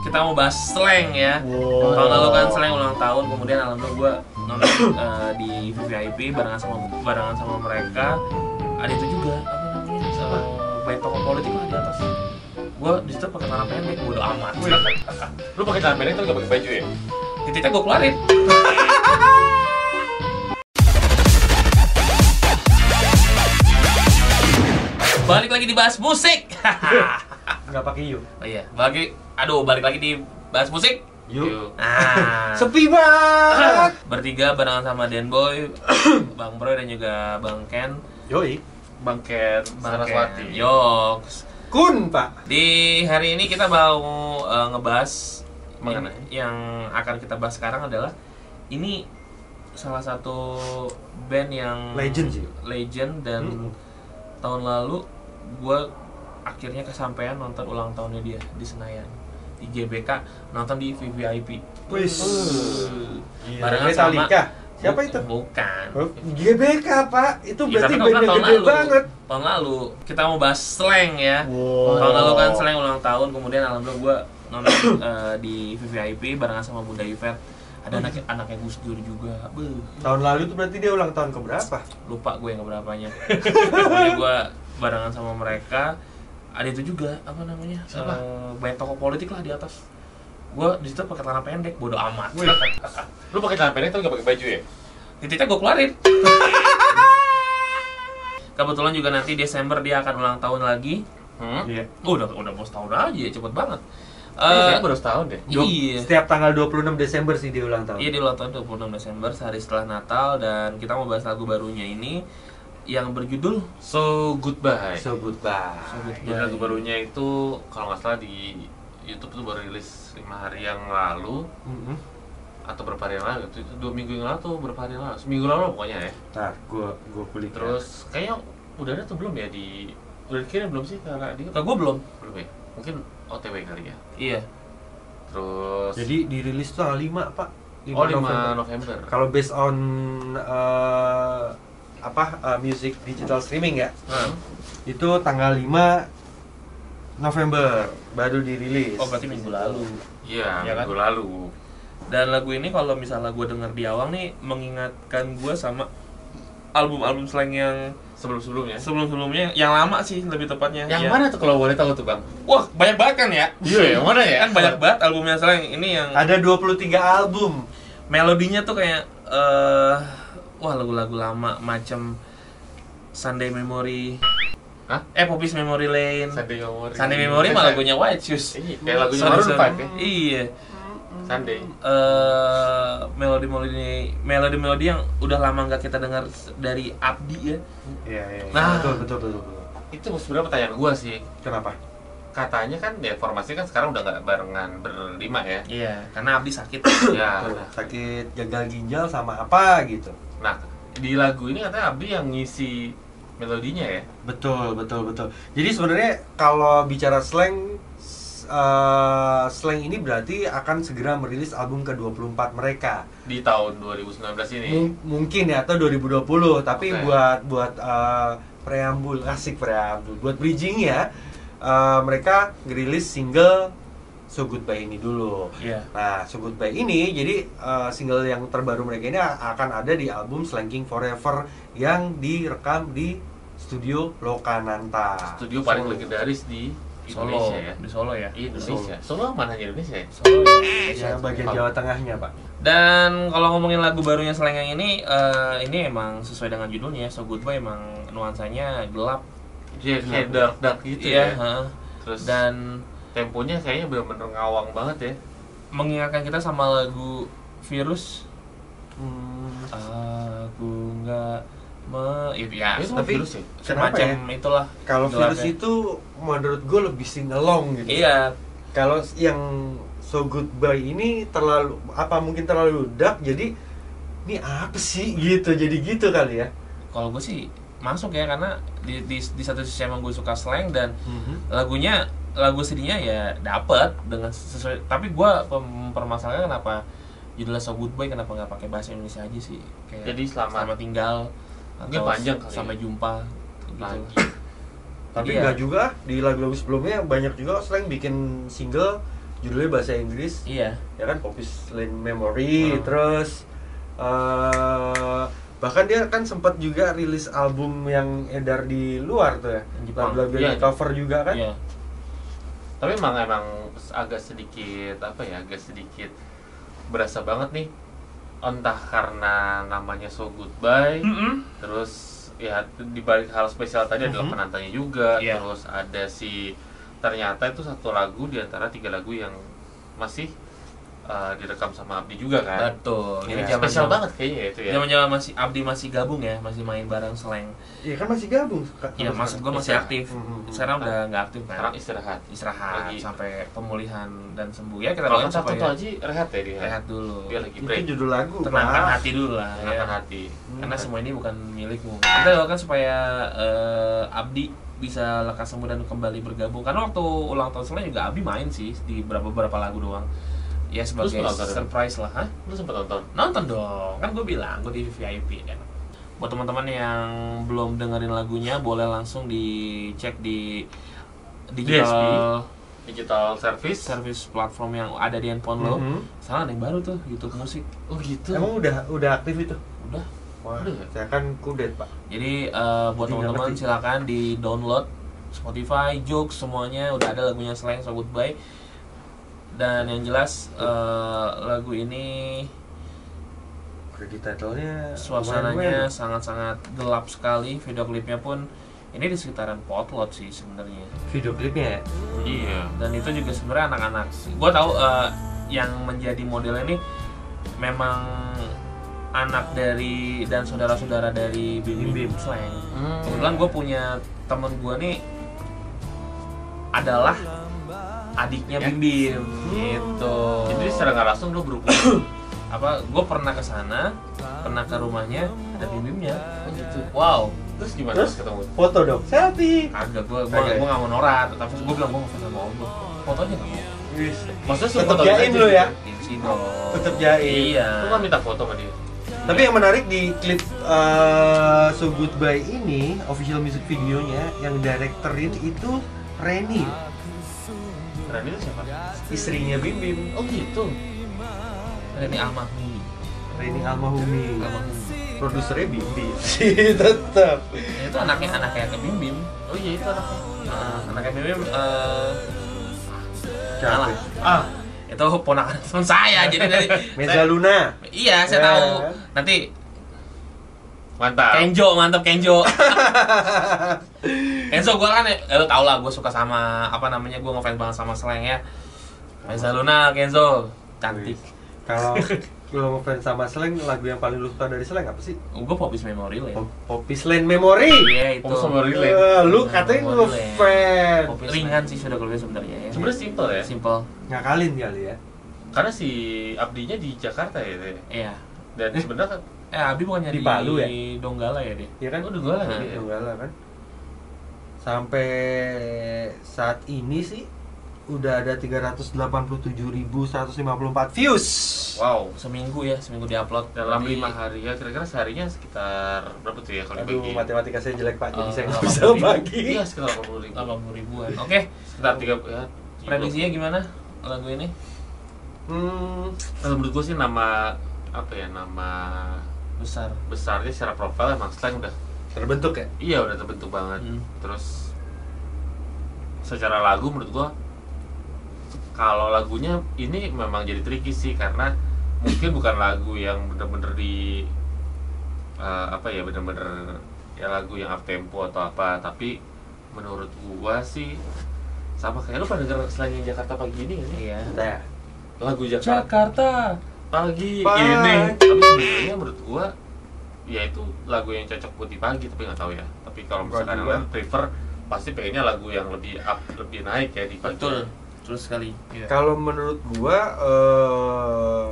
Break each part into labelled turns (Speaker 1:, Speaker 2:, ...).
Speaker 1: kita mau bahas slang ya.
Speaker 2: Wow.
Speaker 1: Tahun lalu kan
Speaker 2: ya.
Speaker 1: slang ulang tahun, kemudian alhamdulillah gue nonton eh, di VVIP barengan sama barengan sama mereka. Ada itu juga apa namanya? Sama baik tokoh politik lah di atas. Gue di situ pakai celana pendek, bodo amat.
Speaker 2: Lu pakai celana pendek tapi gak pakai baju ya?
Speaker 1: Titiknya gue keluarin. Balik lagi dibahas musik.
Speaker 3: Nggak pakai yuk.
Speaker 1: oh iya, balik aduh balik lagi dibahas musik.
Speaker 3: Yuk.
Speaker 1: Ah.
Speaker 2: Nah.
Speaker 3: Sepi banget.
Speaker 1: bertiga barengan sama Den Boy, Bang Bro dan juga Bang Ken,
Speaker 3: Yoi.
Speaker 2: Bangket,
Speaker 1: Bang
Speaker 2: Saraswati.
Speaker 1: Ken Yoks.
Speaker 3: Kun pak.
Speaker 1: Di hari ini kita mau eh, ngebahas
Speaker 2: Mengenai?
Speaker 1: yang, yang akan kita bahas sekarang adalah ini salah satu band yang
Speaker 3: Legend sih.
Speaker 1: legend dan
Speaker 3: Hmm.
Speaker 1: tahun lalu gua akhirnya kesampaian nonton ulang tahunnya dia di Senayan di GBK nonton di VVIP
Speaker 3: Wis.
Speaker 2: Gila.
Speaker 1: Barengan sama-
Speaker 3: Iya, Metallica. Siapa itu?
Speaker 1: bukan
Speaker 3: Oh, GBK pak.
Speaker 2: Iya,
Speaker 3: Itu
Speaker 1: Ya,
Speaker 3: berarti
Speaker 1: tapi
Speaker 3: band
Speaker 1: kan
Speaker 3: yang gede banget. Oh.
Speaker 1: Tahun lalu kita mau bahas slang ya.
Speaker 3: Wow.
Speaker 1: Tahun lalu kan
Speaker 2: ya.
Speaker 1: slang ulang tahun, kemudian alhamdulillah gua nonton eh, di VVIP barengan sama Bunda Ivet. Ada anak anaknya Gus Dur juga. Beuh,
Speaker 3: Tahun lalu itu berarti dia ulang tahun keberapa?
Speaker 1: lupa gue yang keberapanya. Pokoknya gua barengan sama mereka. Ada itu juga apa namanya?
Speaker 2: Siapa?
Speaker 1: Eh, banyak tokoh politik lah di atas. Gua di situ pakai celana pendek, bodo amat.
Speaker 3: Wih.
Speaker 2: Lu pakai celana pendek tapi gak pakai baju ya?
Speaker 1: titiknya gue keluarin kebetulan juga nanti Desember dia akan ulang tahun lagi
Speaker 2: Hmm?
Speaker 3: Iya.
Speaker 1: Oh, udah udah mau setahun aja ya cepet banget
Speaker 2: Kayaknya
Speaker 1: Eh,
Speaker 2: baru setahun deh.
Speaker 3: Du-
Speaker 1: iya
Speaker 3: Setiap tanggal 26 Desember sih dia ulang tahun.
Speaker 1: iya dia ulang tahun 26 Desember sehari setelah Natal dan kita mau bahas lagu barunya ini yang berjudul Ya,
Speaker 2: So goodbye.
Speaker 3: Sebut pak.
Speaker 2: Jadi lagu barunya itu kalau nggak salah di YouTube tuh baru rilis lima hari yang lalu
Speaker 3: Mm-mm.
Speaker 2: atau berapa hari yang lalu itu, itu dua minggu yang lalu atau berapa hari yang lalu seminggu lalu pokoknya ya
Speaker 3: Ntar gua gua kulik. ya.
Speaker 2: terus kayaknya udah ada tuh belum ya di udah dikirim belum sih karena dia
Speaker 1: ke gue belum
Speaker 2: belum ya mungkin OTW kali ya
Speaker 1: iya
Speaker 2: terus
Speaker 3: Jadi dirilis tuh tanggal 5 pak.
Speaker 2: oh 5 November, November.
Speaker 3: Kalau based on eh, apa eh, music digital streaming ya,
Speaker 1: Nah,
Speaker 3: itu tanggal 5 November baru dirilis.
Speaker 1: oh berarti minggu lalu
Speaker 2: iya
Speaker 1: Iya kan?
Speaker 2: minggu lalu
Speaker 1: dan lagu ini kalau misalnya gue denger di awal nih mengingatkan gue sama album-album slang yang
Speaker 2: sebelum sebelumnya
Speaker 1: sebelum-sebelumnya yang lama sih lebih tepatnya
Speaker 2: yang
Speaker 1: Ya.
Speaker 2: mana tuh kalau boleh tahu tuh bang
Speaker 1: Wah, banyak banget kan ya?
Speaker 2: iya yang mana
Speaker 1: Kan banyak banget albumnya sekarang ini yang
Speaker 3: Ada 23 album.
Speaker 1: melodinya tuh kayak eh wah lagu-lagu lama macam Sunday Memory.
Speaker 2: Hah?
Speaker 1: Eh, Popis Memory Lane.
Speaker 2: Sunday Memory
Speaker 1: Sunday Memory malah lagunya White Shoes.
Speaker 2: Iya, kayak lagunya
Speaker 1: Sorry,
Speaker 2: Maroon
Speaker 1: sorry.
Speaker 2: 5 ya
Speaker 1: Iya.
Speaker 2: Sunday
Speaker 1: Eh melodi-melodi melodi-melodi yang udah lama nggak kita dengar dari Abdi ya.
Speaker 3: Iya, iya. iya.
Speaker 1: Nah.
Speaker 3: betul, betul, betul, betul.
Speaker 2: itu sebenarnya pertanyaan gua sih
Speaker 3: Kenapa?
Speaker 2: katanya kan ya formasinya kan sekarang udah nggak barengan berlima ya
Speaker 1: Iya, karena Abdi sakit.
Speaker 2: ya
Speaker 3: Tuh,
Speaker 2: nah,
Speaker 3: sakit gagal ginjal sama apa gitu.
Speaker 2: nah, di lagu ini katanya Abdi yang ngisi melodinya ya
Speaker 3: Betul, betul, betul. Jadi sebenarnya kalau bicara slang s- eh, slang ini berarti akan segera merilis album ke-24 mereka.
Speaker 2: di tahun 2019 ini
Speaker 3: Mung- mungkin ya atau 2020 tapi
Speaker 2: Oke.
Speaker 3: buat buat eh, preambul asik preambul buat bridging ya eh, mereka ngerilis single So Goodbye ini dulu
Speaker 1: Iya.
Speaker 3: nah So Goodbye ini jadi eh, single yang terbaru mereka ini a- akan ada di album Slanking Forever yang direkam di studio Lokananta
Speaker 2: studio paling
Speaker 1: Solo.
Speaker 2: legendaris di
Speaker 1: Solo,
Speaker 2: Indonesia ya
Speaker 1: di Solo ya.
Speaker 2: Indonesia Solo mana hanya Indonesia ya
Speaker 1: Solo.
Speaker 3: ya bagian
Speaker 2: Jepang.
Speaker 3: Jawa Tengahnya pak
Speaker 1: Dan kalau ngomongin lagu barunya Selengang ini, eh, ini emang sesuai dengan judulnya, So Goodbye emang nuansanya gelap,
Speaker 2: Iya, kayak dark dark gitu
Speaker 1: Iya,
Speaker 2: ya
Speaker 1: heeh.
Speaker 2: terus dan
Speaker 1: Dan
Speaker 2: temponya kayaknya bener-bener ngawang banget ya
Speaker 1: mengingatkan kita sama lagu Virus.
Speaker 3: Hmm,
Speaker 1: Aku nggak me, ya,
Speaker 2: Itu
Speaker 3: tapi-
Speaker 2: virus ya
Speaker 3: kenapa
Speaker 1: semacam itulah.
Speaker 3: kalau
Speaker 1: gelapnya.
Speaker 3: virus itu menurut gue lebih singelong gitu
Speaker 1: ya. Iya,
Speaker 3: kalau yang so goodbye ini terlalu apa mungkin terlalu dark jadi ini apa sih gitu jadi gitu kali ya
Speaker 1: kalau gue sih masuk ya karena di, di, di satu sisi emang gue suka slang dan lagunya lagu sedihnya ya dapet dengan sesuai tapi gue mempermasalahkan kenapa judulnya So Goodbye kenapa nggak pakai bahasa Indonesia aja sih kayak
Speaker 2: Jadi selamat-
Speaker 1: tinggal
Speaker 2: Mungkin panjang kali
Speaker 1: sampai
Speaker 2: ya.
Speaker 1: jumpa
Speaker 2: lagi
Speaker 1: gitu.
Speaker 3: tapi
Speaker 1: Iya.
Speaker 3: nggak juga di lagu-lagu sebelumnya banyak juga slang bikin single judulnya bahasa Inggris
Speaker 1: Iya.
Speaker 3: ya kan Popis Lane Memory
Speaker 2: Hmm.
Speaker 3: terus eh bahkan dia kan sempat juga rilis album yang edar di luar tuh ya
Speaker 1: Yang Jepang.
Speaker 3: lagu-lagu yang
Speaker 2: Iya.
Speaker 3: di cover juga kan
Speaker 1: Iya.
Speaker 2: tapi emang emang agak sedikit apa ya agak sedikit berasa banget nih entah karena namanya so goodbye
Speaker 1: Mm-mm.
Speaker 2: terus ya di balik hal spesial tadi adalah
Speaker 3: Mhm.
Speaker 2: penantangnya juga
Speaker 1: Iya.
Speaker 2: terus ada si ternyata itu satu lagu di antara tiga lagu yang masih uh, direkam sama Abdi juga kan
Speaker 1: Betul. Iya. Ini
Speaker 2: Ini zaman
Speaker 1: zaman
Speaker 2: spesial banget kayaknya ya itu ya
Speaker 1: Zaman-zaman masih Abdi masih gabung ya, masih main bareng Sleng.
Speaker 3: Iya kan masih gabung Kak,
Speaker 1: Iya,
Speaker 3: sampai
Speaker 1: maksud
Speaker 3: sekarang.
Speaker 1: gua masih
Speaker 2: Istirahat.
Speaker 1: aktif.
Speaker 3: Mhm.
Speaker 1: Sekarang udah nggak aktif
Speaker 2: sekarang
Speaker 1: kan.
Speaker 2: istirahat
Speaker 1: Istirahat
Speaker 2: Lagi.
Speaker 1: sampai pemulihan dan sembuh ya kita
Speaker 2: kalau
Speaker 1: doain
Speaker 2: yang satu tuh
Speaker 1: supaya
Speaker 2: aja rehat ya dia
Speaker 1: rehat dulu.
Speaker 2: dia lagi
Speaker 3: itu
Speaker 2: break
Speaker 3: judul lagu
Speaker 1: Tenangkan
Speaker 3: Mas.
Speaker 1: hati dulu lah.
Speaker 2: Tenangkan
Speaker 1: ya.
Speaker 2: hati Hmm.
Speaker 1: Karena semua ini bukan milikmu. Kita doakan supaya eh, Abdi bisa lekas sembuh dan kembali bergabung. Karena waktu ulang tahun Sleng juga Abdi main sih di beberapa beberapa lagu doang. Ya sebagai
Speaker 2: Terus penonton.
Speaker 1: surprise lah, Hah?
Speaker 2: lu sempet nonton
Speaker 1: nonton dong kan gue bilang gue di VIP kan buat teman-teman yang belum dengerin lagunya boleh langsung dicek di digital
Speaker 2: digital service
Speaker 1: service platform yang ada di handphone lo
Speaker 3: Mhm.
Speaker 1: salah ada yang baru tuh YouTube musik
Speaker 2: oh gitu
Speaker 3: emang udah udah aktif itu
Speaker 1: udah
Speaker 3: wah
Speaker 2: Udah ya?
Speaker 3: saya kan kudet pak
Speaker 1: jadi eh, buat
Speaker 3: Jadi nggak
Speaker 1: teman-teman
Speaker 3: ngerti.
Speaker 1: silakan di download Spotify, Joox semuanya udah ada lagunya selain So Goodbye dan yang jelas eh, lagu ini
Speaker 3: kredit titlenya
Speaker 1: suasananya sangat-sangat gelap sekali video klipnya pun ini di sekitaran potlot sih sebenarnya
Speaker 3: video klipnya ya
Speaker 2: iya
Speaker 1: dan itu juga sebenarnya anak-anak gue tahu eh, yang menjadi modelnya ini memang anak dari dan saudara-saudara dari Bim Bim
Speaker 3: Bim Bim.
Speaker 1: Slang
Speaker 3: Hmm.
Speaker 1: kebetulan gue punya temen gue nih adalah adiknya
Speaker 2: Ya.
Speaker 1: Bim Bim gitu
Speaker 2: jadi secara nggak langsung lu berhubungan
Speaker 1: apa gue pernah ke sana pernah ke rumahnya ada Bim Bimnya
Speaker 2: oh gitu
Speaker 1: wow
Speaker 2: terus gimana
Speaker 3: Terus?
Speaker 2: pas ketemu
Speaker 3: foto dong selfie
Speaker 1: Kagak, gue gue
Speaker 2: ya?
Speaker 3: Kagak.
Speaker 1: gue nggak mau norak, tapi gue bilang gue mau foto sama om gue. Fotonya nggak mau.
Speaker 3: Wis.
Speaker 2: maksudnya suruh
Speaker 3: tetep
Speaker 2: foto
Speaker 3: jaim
Speaker 2: aja
Speaker 3: lu
Speaker 2: gitu?
Speaker 3: ya
Speaker 1: Iya sih dong.
Speaker 3: Tetep jaim.
Speaker 1: Iya.
Speaker 2: lu kan minta foto sama dia
Speaker 3: Tapi yang menarik di klip eh, So Goodbye ini, official music videonya yang directorin itu Reni,
Speaker 2: Rani itu siapa
Speaker 3: istrinya Bim Bim,
Speaker 2: oh gitu
Speaker 1: Ada nih Almahmi.
Speaker 3: Reni Almahumi.
Speaker 1: Almahmi.
Speaker 3: Produsernya Bim Bim. Sih tetap.
Speaker 1: Ya, itu anaknya anaknya ke Bim Bim.
Speaker 2: oh iya itu anaknya
Speaker 1: Nah, anaknya Bim Bim. eh,
Speaker 3: Siapa?
Speaker 1: Alah.
Speaker 3: Ah,
Speaker 1: itu ponakan teman saya. Jadi dari
Speaker 3: Meza Luna.
Speaker 1: saya- Iya, saya
Speaker 3: Ya.
Speaker 1: tahu. Nanti
Speaker 2: mantap
Speaker 1: Kenjo mantap Kenjo. Kenzo gue kan, eh, lo tau lah gue suka sama apa namanya gue ngefans banget sama Slang ya. Meza Luna, Kenzo, cantik.
Speaker 3: Kalau lo ngefans sama Slang, lagu yang paling lu suka dari Slang apa sih?
Speaker 1: Gue popis memori lah. ya.
Speaker 3: Pop- Popis Lane Memory.
Speaker 1: Iya itu.
Speaker 2: Popis Memory. Relate.
Speaker 3: Eh, lu
Speaker 1: Nah,
Speaker 3: katanya
Speaker 1: boleh.
Speaker 3: ngefans.
Speaker 1: ringan sih sudah keluar sebenarnya ya.
Speaker 2: sebenarnya simple ya
Speaker 1: Simple.
Speaker 3: Ngakalin kali ya.
Speaker 2: karena si Abdinya di Jakarta ya Teh.
Speaker 1: Iya.
Speaker 2: dan
Speaker 3: Eh.
Speaker 2: sebenarnya
Speaker 1: Eh Abi bukannya di,
Speaker 3: Di Palu ya?
Speaker 1: Donggala ya dia.
Speaker 3: Iya kan?
Speaker 2: kan udah gue lah
Speaker 1: Nah,
Speaker 2: gitu ya.
Speaker 3: Donggala kan sampai saat ini sih udah ada 387.154 views
Speaker 2: wow
Speaker 1: Seminggu ya, seminggu diupload
Speaker 2: dalam
Speaker 1: Jadi,
Speaker 2: lima hari ya kira-kira seharinya sekitar berapa tuh ya kalau
Speaker 3: aduh
Speaker 2: dibagi
Speaker 3: matematika saya jelek pak jadi
Speaker 1: Eh,
Speaker 3: saya nggak
Speaker 1: 80.000.
Speaker 3: bisa bagi
Speaker 2: iya sekitar 80 ribu
Speaker 1: 80 ribuan. Oke,
Speaker 2: sekitar tiga ya
Speaker 1: prediksinya gimana lagu ini?
Speaker 3: hmm,
Speaker 2: Kalau menurut gue sih nama apa ya nama
Speaker 1: Besar.
Speaker 2: besarnya secara profil emang slang udah
Speaker 3: terbentuk ya
Speaker 2: iya udah terbentuk banget
Speaker 1: Hmm.
Speaker 2: terus secara lagu menurut gue kalau lagunya ini memang jadi tricky sih karena mungkin bukan lagu yang bener-bener di eh, apa ya bener-bener ya lagu yang up tempo atau apa tapi menurut gua sih sama kayak lu pada denger slang yang Jakarta pagi ini gak sih?
Speaker 1: Iya.
Speaker 3: nah,
Speaker 2: lagu Jakarta
Speaker 1: Jakarta.
Speaker 2: pagi
Speaker 3: Pagi.
Speaker 2: ini tapi sebenarnya menurut gua ya itu lagu yang cocok buat di pagi tapi nggak tahu ya tapi kalau
Speaker 3: Bukan
Speaker 2: misalkan
Speaker 3: juga.
Speaker 2: kalian prefer pasti pengennya lagu yang lebih up lebih naik ya di pagi
Speaker 1: Betul. Terus sekali. Iya.
Speaker 3: kalau menurut gua eh,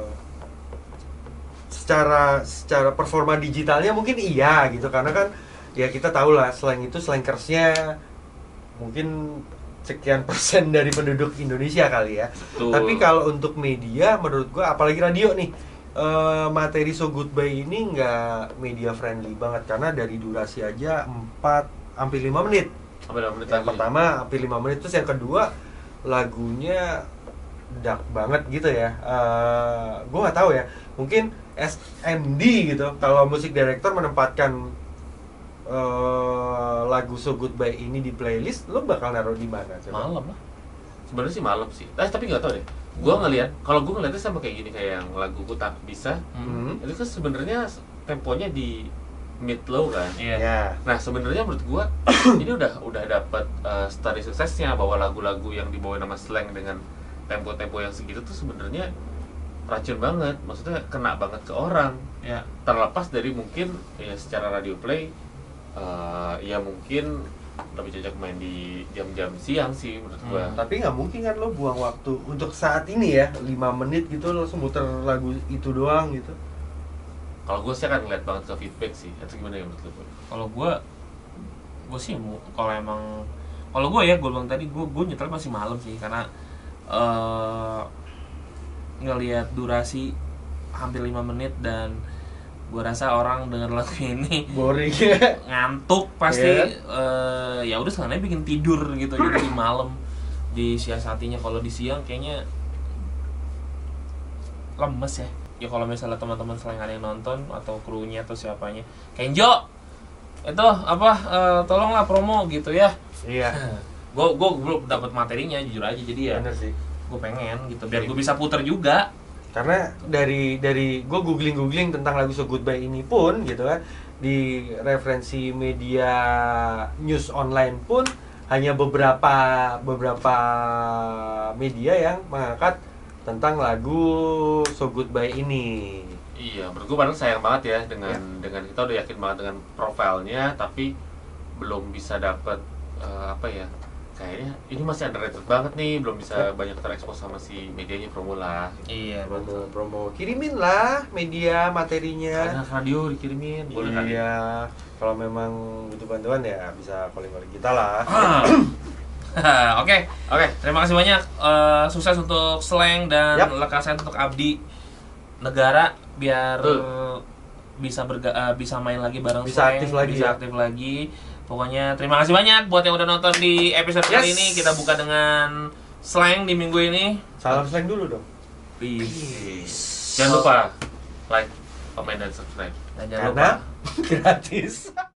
Speaker 3: secara secara performa digitalnya mungkin iya gitu karena kan ya kita tahu lah slang itu slangkersnya mungkin sekian persen dari penduduk Indonesia kali ya
Speaker 2: Betul.
Speaker 3: tapi kalau untuk media menurut gua apalagi radio nih eh, materi so goodbye ini nggak media friendly banget karena dari durasi aja 4 hampir 5 menit
Speaker 2: apa dalam menit
Speaker 3: yang
Speaker 2: lagunya?
Speaker 3: pertama hampir 5 menit terus yang kedua lagunya dark banget gitu ya Eh, gue nggak tahu ya mungkin SMD gitu kalau musik director menempatkan eh, lagu So Good Bye ini di playlist lo bakal naruh di mana coba
Speaker 1: malam lah
Speaker 2: sebenarnya sih malam sih eh, tapi nggak tahu deh gue ngelihat kalau gue ngeliatnya sama kayak gini kayak yang lagu ku tak bisa
Speaker 1: Hmm.
Speaker 2: itu kan sebenarnya temponya di mid low kan
Speaker 1: iya
Speaker 3: ya
Speaker 2: nah sebenarnya menurut gua ini udah udah dapat eh, story suksesnya bahwa lagu-lagu yang dibawa nama slang dengan tempo-tempo yang segitu tuh sebenarnya racun banget maksudnya kena banget ke orang
Speaker 1: iya
Speaker 2: terlepas dari mungkin ya secara radio play eh, ya mungkin lebih cocok main di jam-jam siang sih menurut gua
Speaker 1: Hmm.
Speaker 3: tapi nggak mungkin kan lo buang waktu untuk saat ini ya 5 menit gitu lo langsung muter lagu itu doang gitu
Speaker 2: kalau gua sih akan ngeliat banget ke feedback sih atau gimana ya menurut lu Boy?
Speaker 1: kalau gue gue sih mu- kalau emang kalau gue ya gue bilang tadi gue gue nyetel masih malam sih karena eh ngelihat durasi hampir lima menit dan gue rasa orang denger lagu ini
Speaker 3: boring ya
Speaker 1: ngantuk pasti
Speaker 3: Iya.
Speaker 1: eh, ya udah sekarang bikin tidur gitu jadi di malam disiasatinya kalau di siang kayaknya lemes ya ya kalau misalnya teman-teman selain ada yang nonton atau krunya atau siapanya Kenjo itu apa eh, tolonglah promo gitu ya
Speaker 3: iya
Speaker 1: gue gue belum dapat materinya jujur aja jadi ya
Speaker 3: bener Iya. sih
Speaker 1: gue pengen gitu biar gue bisa puter juga
Speaker 3: karena dari dari gue googling googling tentang lagu So Goodbye ini pun gitu kan di referensi media news online pun hanya beberapa beberapa media yang mengangkat tentang lagu So Goodbye ini
Speaker 2: Iya, menurut gue padahal sayang banget ya dengan dengan kita udah yakin banget dengan profilnya, tapi belum bisa dapat apa ya? Kayaknya ini masih underrated banget nih, belum bisa banyak terekspos sama si medianya Promula.
Speaker 1: iya
Speaker 3: promo promo kirimin lah media materinya
Speaker 2: Ada radio dikirimin, boleh kan?
Speaker 3: iya kalau memang butuh bantuan ya bisa calling calling kita lah
Speaker 1: Ah. oke
Speaker 2: Oke,
Speaker 1: Terima kasih banyak. Eh, sukses untuk Slang dan
Speaker 3: Yap.
Speaker 1: Lekasen untuk Abdi Negara biar
Speaker 2: Betul.
Speaker 1: bisa berga, eh, bisa main lagi bareng
Speaker 3: Bisa
Speaker 1: Slang,
Speaker 3: aktif lagi
Speaker 1: bisa
Speaker 3: ya.
Speaker 1: aktif lagi. Pokoknya terima kasih banyak buat yang udah nonton di episode kali
Speaker 3: Yes.
Speaker 1: ini. Kita buka dengan Slang di minggu ini.
Speaker 3: salam slang dulu dong
Speaker 2: jangan lupa like, comment dan subscribe.
Speaker 1: Dan jangan lupa
Speaker 3: karena gratis